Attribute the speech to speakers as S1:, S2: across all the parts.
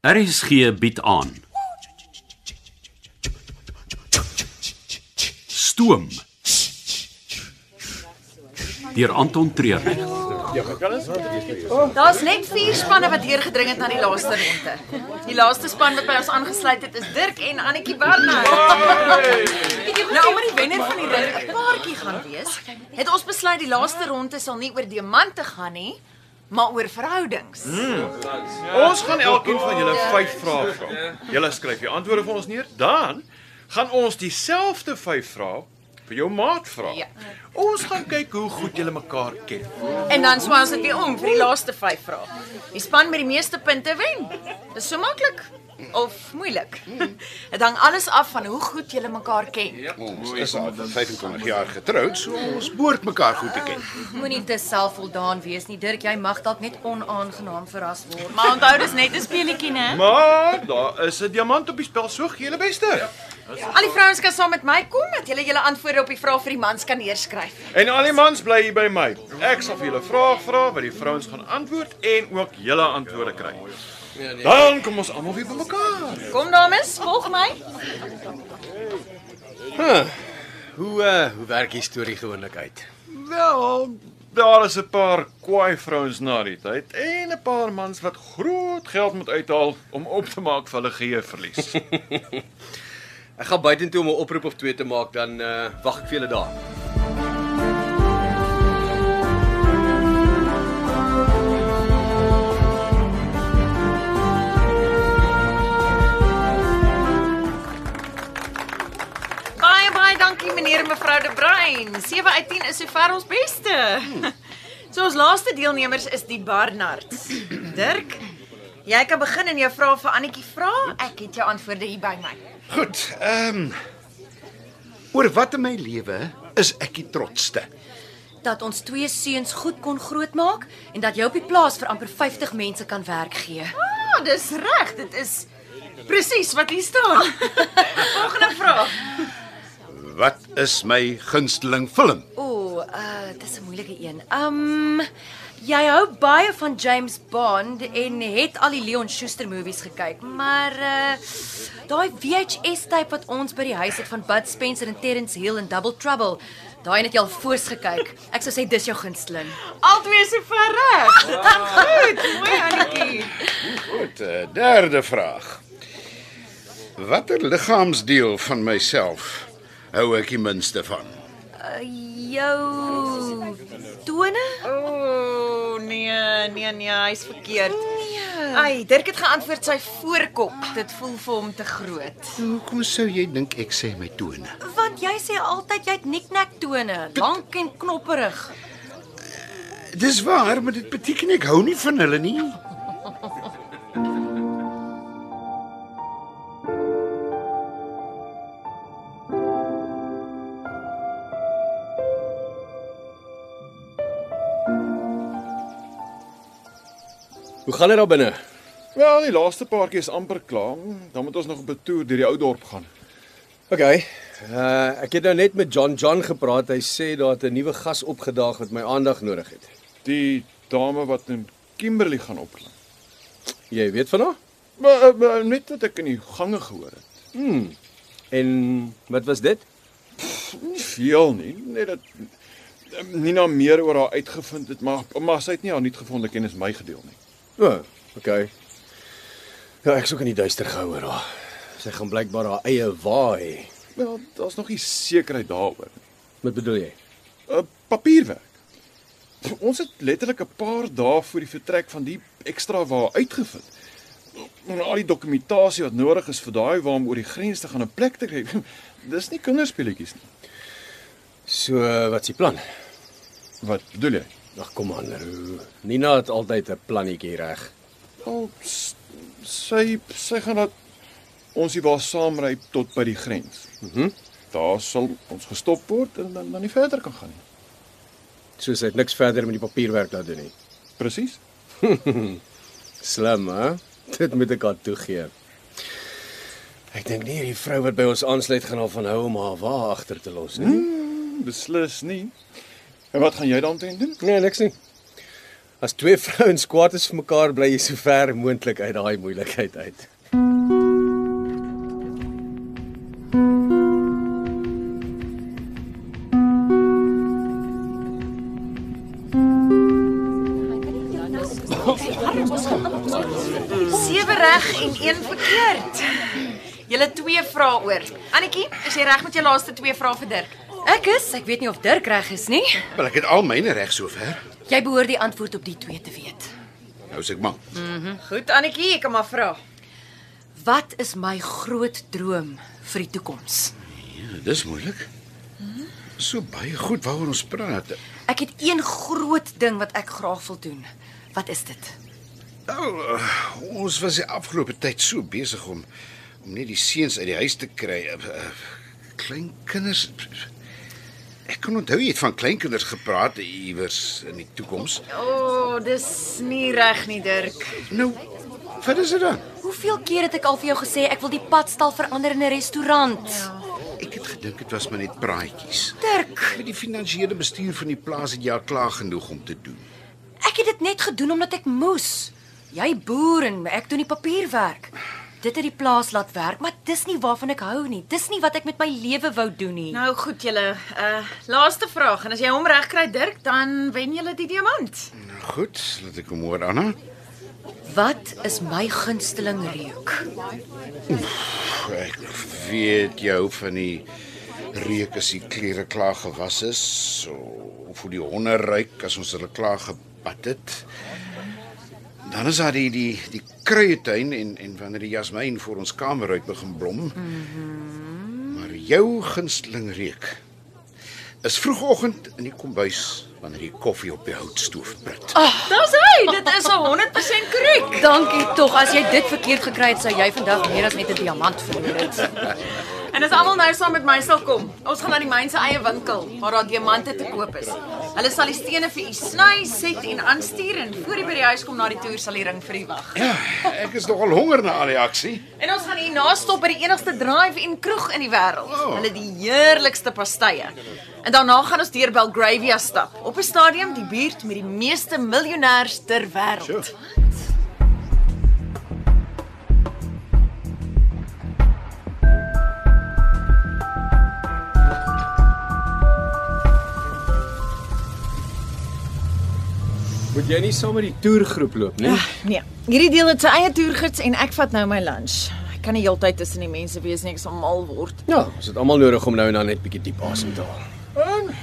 S1: RSG bied aan. Stoom deur Anton Treuer.
S2: Daar's net vier spanne wat deurgedring het na die laaste ronde. Die laaste span wat by ons aangesluit het is Dirk en Annetjie Barnard. Nou om die wenner van die ring 'n paartjie gaan wees, het ons besluit die laaste ronde sal nie oor diamante gaan nie, maar oor verhoudings.
S3: Ons gaan elkeen van julle vyf vrae vra. Julle skryf die antwoorde vir ons neer. Dan gaan ons dieselfde vyf vrae vir jou maat vra.
S2: Ja.
S3: Ons gaan kyk hoe goed julle mekaar ken.
S2: En dan swaai ons dit weer om vir die laaste 5 vrae. Die span met die meeste punte wen. Dis so maklik of moeilik. Dit hang alles af van hoe goed jy mekaar ken.
S4: Ons is al vir 25 jaar getroud, so ons behoort mekaar goed te ken.
S5: Moenie te selfvoldaan wees nie, Dirk. Jy mag dalk net onaangenaam verras word.
S2: Maar onthou dis net 'n speletjie, né?
S3: Maar daar is 'n diamant op die spel, so gee julle beste.
S2: Al die vrouens kan saam met my kom dat julle julle antwoorde op die vrae vir die mans kan neerskryf.
S3: En al die mans bly hier by my. Ek sal vir julle vrae vra wat die vrouens gaan antwoord en ook julle antwoorde kry. Dan kom ons almal weer bymekaar.
S2: Kom dames, volg my.
S4: Hoe uh, hoe werk die storie gewoonlik uit?
S3: Wel, daar is 'n paar kwaai vrouens na die tyd en 'n paar mans wat groot geld moet uithaal om op te maak vir hulle geheueverlies.
S4: Ek gaan buitentoe om 'n oproep of twee te maak, dan uh, wag ek vir julle daar.
S2: Baie baie dankie meneer en mevrou De Bruin. 7 uit 10 is sover ons beste. So ons laaste deelnemers is die Barnards. Dirk, jy kan begin en jou vrae vir Annetjie vra. Ek het jou antwoorde hier by my.
S4: Goed. Ehm um, oor wat in my lewe is ek die trotste?
S5: Dat ons twee seuns goed kon grootmaak en dat jy op die plaas vir amper 50 mense kan werk gee.
S2: Ja, dis reg. Dit is presies wat hier staan. Volgende vraag.
S4: Wat is my gunsteling film?
S5: O, uh, dis 'n moeilike een. Um jy hou baie van James Bond en het al die Leon Schuster movies gekyk, maar uh daai VHS-tape wat ons by die huis het van Bud Spencer en Terence Hill en Double Trouble, daai een het jy al voors gekyk. Ek sou sê dis jou gunsteling.
S2: Altwee sover reg. Goed, mooi Annetjie.
S4: Goed, uh, derde vraag. Watter liggaamsdeel van myself hou ek die minste van?
S5: Uh, jou tone?
S2: Ooh, nee, nee, nee, hy's verkeerd. Nee. Ai, Dirk het geantwoord sy voorkop. Dit voel vir hom te groot.
S4: Hoekom sou jy dink ek sê my tone?
S5: Want jy sê altyd jy het kniknak tone, lank en knopperig.
S4: Dis waar, maar dit beteken ek hou nie van hulle nie.
S6: Hoe gaan dit daar binne?
S3: Wel, die laaste paartjie is amper klaar. Dan moet ons nog op 'n toer deur die ou dorp gaan.
S6: OK. Uh ek het nou net met John John gepraat. Hy sê daar het 'n nuwe gas opgedaag wat my aandag nodig het.
S3: Die dame wat in Kimberley gaan opklim.
S6: Jy weet van haar?
S3: Maar, eh, maar net wat ek in die gange gehoor het.
S6: En wat was dit?
S3: Nie veel nie, net dat eh, Nina meer oor haar uitgevind het, maar maar sy het nie haar nuut gevonde kennis my gedeel nie.
S6: O, oh, OK. Ja, ek's ook in die duister gehou oor haar. Sy gaan blykbaar haar eie wa hê.
S3: Wel, daar's nog nie sekerheid daaroor nie.
S6: Wat bedoel jy?
S3: 'n Eh, papierwerk. Pff, Ons het letterlik 'n paar dae voor die vertrek van die ekstra wa uitgevind. En al die dokumentasie wat nodig is vir daai wa om oor die grens te gaan 'n plek te kry. Dis nie kinderspeletjies nie.
S6: So, uh, wat's die plan?
S3: Wat bedoel jy?
S6: Ag kom aan, Roo. Nina het altyd 'n plannetjie reg.
S3: Al s- sy sy gaan dat ons hier waar saamry tot by die grens. Mhm. Mm Daar sal ons gestop word en dan dan nie verder kan gaan nie.
S6: So sy het niks verder met die papierwerk laat doen nie.
S3: Presies.
S6: Slim, hè? Dit moet ek haar toegee. Ek dink nie hierdie vrou wat by ons aansluit gaan daarvan hou om haar wa agter te los nie.
S3: Beslis nie. En wat gaan jy dan teen doen?
S6: Nee, niks nie. As twee vrouens kwaad is vir mekaar, bly jy so ver moontlik uit daai moeilikheid uit.
S2: Sewe reg en een verkeerd. Julle twee vrae oor. Annetjie, is jy reg met jou laaste twee vrae vir Dirk?
S5: Ek is, ek weet nie of Dirk reg is nie.
S4: Wel ek het al myne reg sover.
S5: Jy behoort die antwoord op die twee te weet.
S4: Nou sê ek maar.
S2: Goed Annetjie, ek kan maar vra.
S5: Wat is my groot droom vir die toekoms?
S4: Nou, Dis moeilik. So baie goed waaroor ons praat.
S5: Ek het een groot ding wat ek graag wil doen. Wat is dit?
S4: Nou, eh, ons was die afgelope tyd so besig om om net die seuns uit die huis te kry. Eh, eh, Klein kinders Ek kon onthou jy het van kleinkinders gepraat iewers in die toekoms.
S2: O, oh, dis nie reg nie Dirk.
S4: Nou, wat is dit dan?
S5: Hoeveel keer het ek al vir jou gesê ek wil die padstal verander in 'n restaurant? Ja.
S4: Ek het gedink dit was maar net praatjies.
S5: Dirk,
S4: Met die finansiële bestuur van die plaas het jy al klaar genoeg om te doen.
S5: ek het dit net gedoen omdat ek moes. Jy boer en ek doen die papierwerk. Dit het die plaas laat werk, maar dis nie waarvan ek hou nie. Dis nie wat ek met my lewe wou doen nie.
S2: Nou goed julle, uh laaste vraag en as jy hom reg kry Dirk, dan wen julle die diamant.
S4: Nou goed, laat ek hom hoor Anna.
S5: Wat is my gunsteling reuk?
S4: Pff, Ek weet jy hou van die reuk as die klere klaar gewas is, so, of hoe die honde ruik as ons hulle klaar gepad het. Dan is daar die die die kruietuin en en wanneer die jasmiin voor ons kamer uit begin blom. Mm -hmm. Maar jou gunsteling reuk is vroegoggend in die kombuis wanneer die koffie op die houtstoof brit. Oh.
S2: Dis hy, dit is 100% korrek.
S5: Dankie tog. As jy dit verkeerd gekry het, sou jy vandag meer as net 'n diamant verloor het.
S2: En as almal nou saam met my sal kom, ons gaan na die myn se eie winkel waar daar diamante te koop is. Hulle sal die stene vir u sny, set en aanstuur en voor jy by die huis kom na die toer sal die ring vir u wag.
S4: Ja, ek is nogal honger na al die aksie.
S2: En ons gaan hier na stop by die enigste drive en kroeg in die wêreld.
S4: Oh.
S2: Hulle die heerlikste pastye. En daarna gaan ons deur Belgravia stap, op 'n stadium die buurt met die meeste miljonêers ter wêreld. Sure.
S6: Moet jy nie saam met die toergroep loop nie.
S2: Nee, hierdie deel het sy eie toergids en ek vat nou my lunch. Ek kan nie heeltyd tussen die mense wees nie, ek sal mal word.
S6: Ja, ons het almal nodig om nou en dan net bietjie diep asem te haal.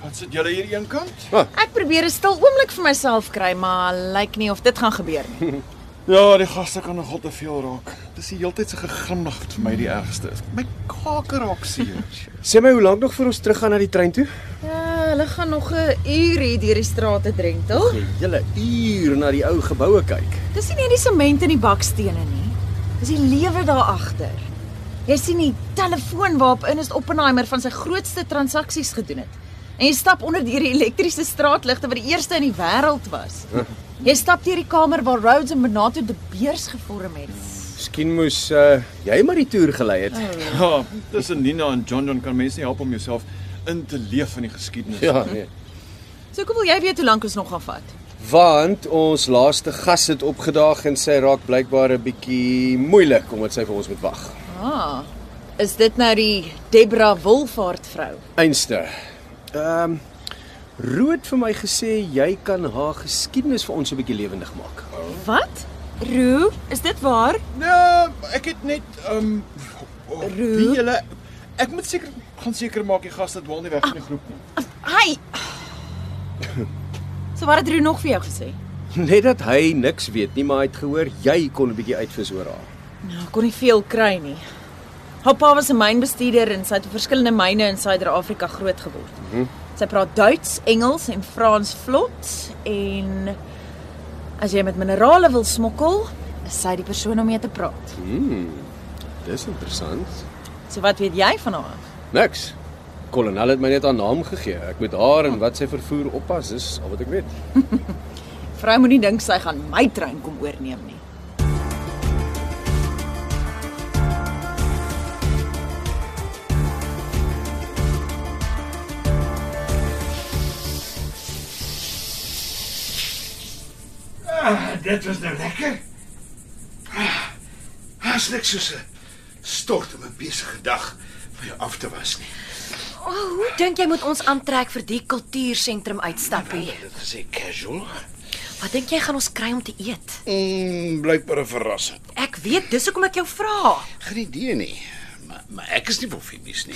S3: Wat sit julle hier eenkant?
S2: Ek probeer 'n stil oomblik vir myself kry, maar lyk nie of dit gaan gebeur nie.
S3: Ja, die gaste kan nogal te veel raak. Dis die heeltyd se gegrimnig wat vir my die ergste is. My kake raak seer.
S6: Sê my hoe lank nog voor ons teruggaan na die trein toe?
S2: Ja, hulle gaan nog 'n uur hier deur die strate drentel.
S6: Julle uur na die ou geboue kyk.
S2: Dis nie net die sement en die bakstene nie. Dis die lewe daar agter. Jy sien die telefoon waarop Ernest Oppenheimer van sy grootste transaksies gedoen het. En jy stap onder deur die elektriese straatligte wat die eerste in die wêreld was. Jy stap deur die kamer waar Rhodes en Benato de Beers gevorm het.
S6: Miskien moes uh, jy maar die toer gelei het.
S3: Ja, tussen Nina en John John kan mense nie help om jouself in te leef in die geskiedenis.
S6: Ja, nee.
S2: So kom wil jy weet hoe lank ons nog gaan vat?
S6: Want ons laaste gas het opgedaag en sy raak blykbaar 'n bietjie moeilik omdat sy vir ons moet wag.
S2: Ah. Is dit nou die Debra Wolvaart vrou?
S6: Einste. Ehm um, Rood vir my gesê jy kan haar geskiedenis vir ons 'n bietjie lewendig maak.
S2: Wat? Roo, is dit waar?
S3: Ja, ek het net ehm um, wie julle ek moet seker gaan seker maak die gaste dwaal nie weg van die groep nie.
S2: Hi. So wat het Roo nog vir jou gesê?
S6: Net dat hy niks weet nie, maar hy het gehoor jy kon 'n bietjie uitvis oor haar.
S2: Nou, kon nie veel kry nie. Haar pa was 'n mynbestuurder en sy het op verskillende myne in Suider-Afrika grootgeword. Mm -hmm. Sy praat Duits, Engels en Frans vlot en as jy met minerale wil smokkel, is sy die persoon om mee te praat.
S6: Dis interessant.
S2: So wat weet jy van haar?
S6: Niks. Kolonel het my net haar naam gegee. Ek moet haar en wat sy vervoer oppas, dis al wat ek weet.
S2: Vrou moenie dink sy gaan my trein kom oorneem nie.
S4: dit was nou lekker. Haas niks soos 'n stort om 'n besige dag vir jou af te was nie.
S5: O, hoe dink jy moet ons aantrek vir die kultuursentrum uitstappie?
S4: Dit gesê
S5: eh,
S4: casual.
S5: Wat dink jy gaan ons kry om te eet?
S4: Mm, blykbaar 'n verrassing.
S5: Ek weet, dis hoekom ek jou vra.
S4: Geen idee nie. Maar, maar ek is nie boffies nie.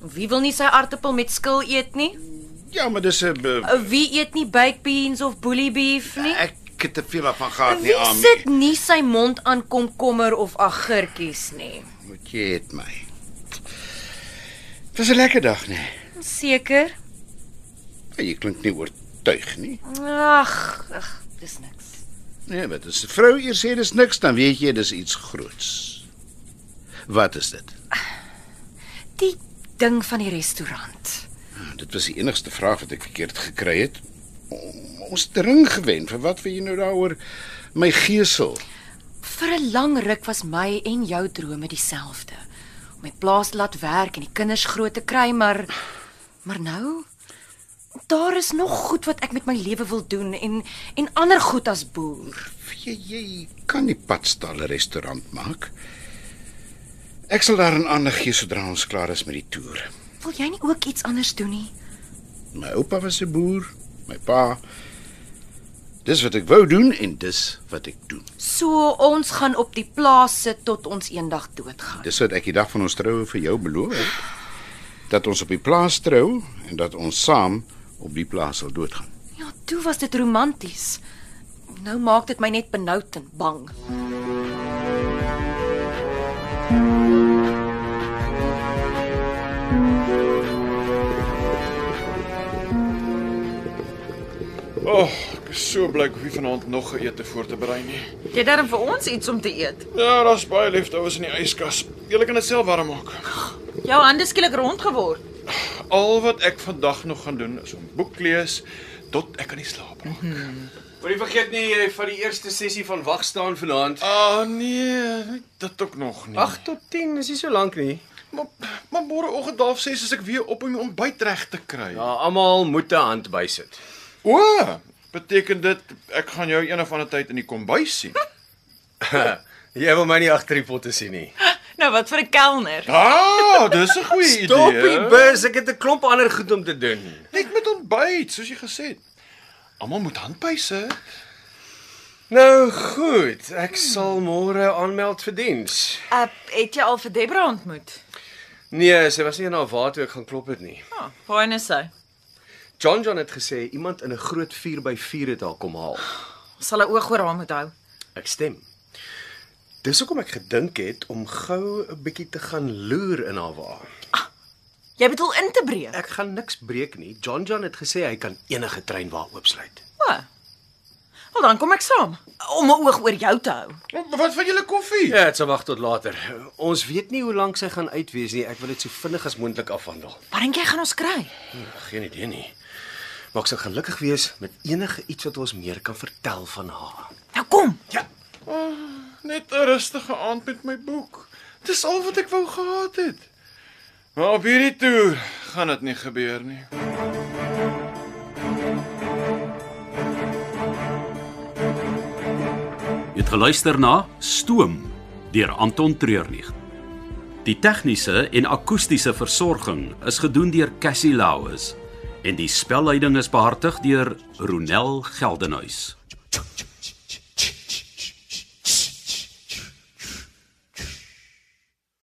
S5: Wie wil nie sy aartappel met skil eet nie?
S4: Ja, maar dis 'n be-
S5: Wie eet nie baked beans of bully beef nie?
S4: ek het te veel van gehad nie
S5: Oh, nee. Wie
S4: aan
S5: sit nie sy mond aan komkommer of agurkies nie.
S4: Moet jy het my. Dit was 'n lekker dag, nee.
S5: Seker?
S4: Jy klink nie oortuig nie.
S5: Ag, ag, dis niks.
S4: Nee, wat as 'n vrou eers sê dis niks, dan weet jy dis iets groots. Wat is dit?
S5: Die ding van die restaurant.
S4: Dit was die enigste vraag wat ek verkeerd gekry het. O- Ons dring gewen. Vir wat wil jy nou daaroor my gesel?
S5: Vir 'n lang ruk was my en jou drome dieselfde. Om my plaas te laat werk en die kinders groot te kry, maar maar nou daar is nog goed wat ek met my lewe wil doen en en ander goed as boer.
S4: Weet Jy, jy kan nie padstalle restaurant maak. Ek sal daar 'n aandag gee sodra ons klaar is met die toer.
S5: Wil jy nie ook iets anders doen nie?
S4: My oupa was 'n boer, my pa. Dis wat ek wou doen en dis wat ek doen.
S5: So ons gaan op die plaas sit tot ons eendag doodgaan.
S4: Dis wat ek die dag van ons troue vir jou beloof het. Dat ons op die plaas trou en dat ons saam op die plaas sal doodgaan.
S5: Ja, toe was dit romanties. Nou maak dit my net benoud en bang.
S3: Ag, oh, ek is so bly ek hoef nie vanaand nog 'n ete voor te berei nie.
S2: Jy darm vir ons iets om te eet.
S3: Ja, daar's baie leftovers in die yskas. Jy kan dit self warm maak.
S2: Jou Ja, hande skielik rond geword.
S3: Al wat ek vandag nog gaan doen is om boek lees tot ek kan nie slaap raak.
S6: Moenie vergeet nie jy vat die eerste sessie van wag staan vanaand.
S3: Ah nee, dit ook nog nie.
S6: Ag tot 10 is nie so lank nie.
S3: maar, maar môreoggend half 6 is ek weer op om die ontbyt reg te kry.
S6: Ja, almal moet 'n hand bysit.
S3: O, beteken dit ek gaan jou eendag van 'n tyd in die kombuis sien?
S6: Jy wil my nie agter die potte sien nie.
S2: Nou wat vir 'n kelner.
S3: Ah, dis 'n goeie idee.
S6: Stop die bus, ek het 'n klomp ander goed om te doen.
S3: Net met ontbyt, soos jy gesê het. Almal moet handpyse.
S6: Nou goed, ek sal môre aanmeld vir diens.
S2: Uh, het jy al vir Debra ontmoet?
S6: Nee, sy was nie na waar toe ek gaan klop het nie.
S2: Ja, baie is sy.
S6: John John het gesê iemand in 'n groot 4x4 het haar kom haal.
S2: Ons sal 'n oog oor haar moet hou.
S6: Ek stem. Dis hoekom ek gedink het om gou 'n bietjie te gaan loer in haar wa.
S2: Jy bedoel in te breek.
S6: Ek gaan niks breek nie. John John het gesê hy kan enige trein waar oopsluit.
S2: O. Wel dan kom ek saam om 'n oog oor jou te hou.
S3: Wat van julle koffie?
S6: Ja, dit sal wag tot later. Ons weet nie hoe lank sy gaan uitwees nie. Ek wil dit so vinnig as moontlik afhandel.
S2: Wat dink jy gaan ons kry?
S6: Geen idee nie. Maar ek sal gelukkig wees met enige iets wat ons meer kan vertel van haar.
S2: Nou kom.
S3: Net 'n rustige aand met my boek. Dis al wat ek wou gehad het. Maar op hierdie toer gaan dit nie gebeur nie.
S1: Jy het geluister na Stoom deur Anton Treurnig. Die tegniese en akoestiese versorging is gedoen deur Cassie Lauis en die spelleiding is behartig deur Ronel Geldenhuys.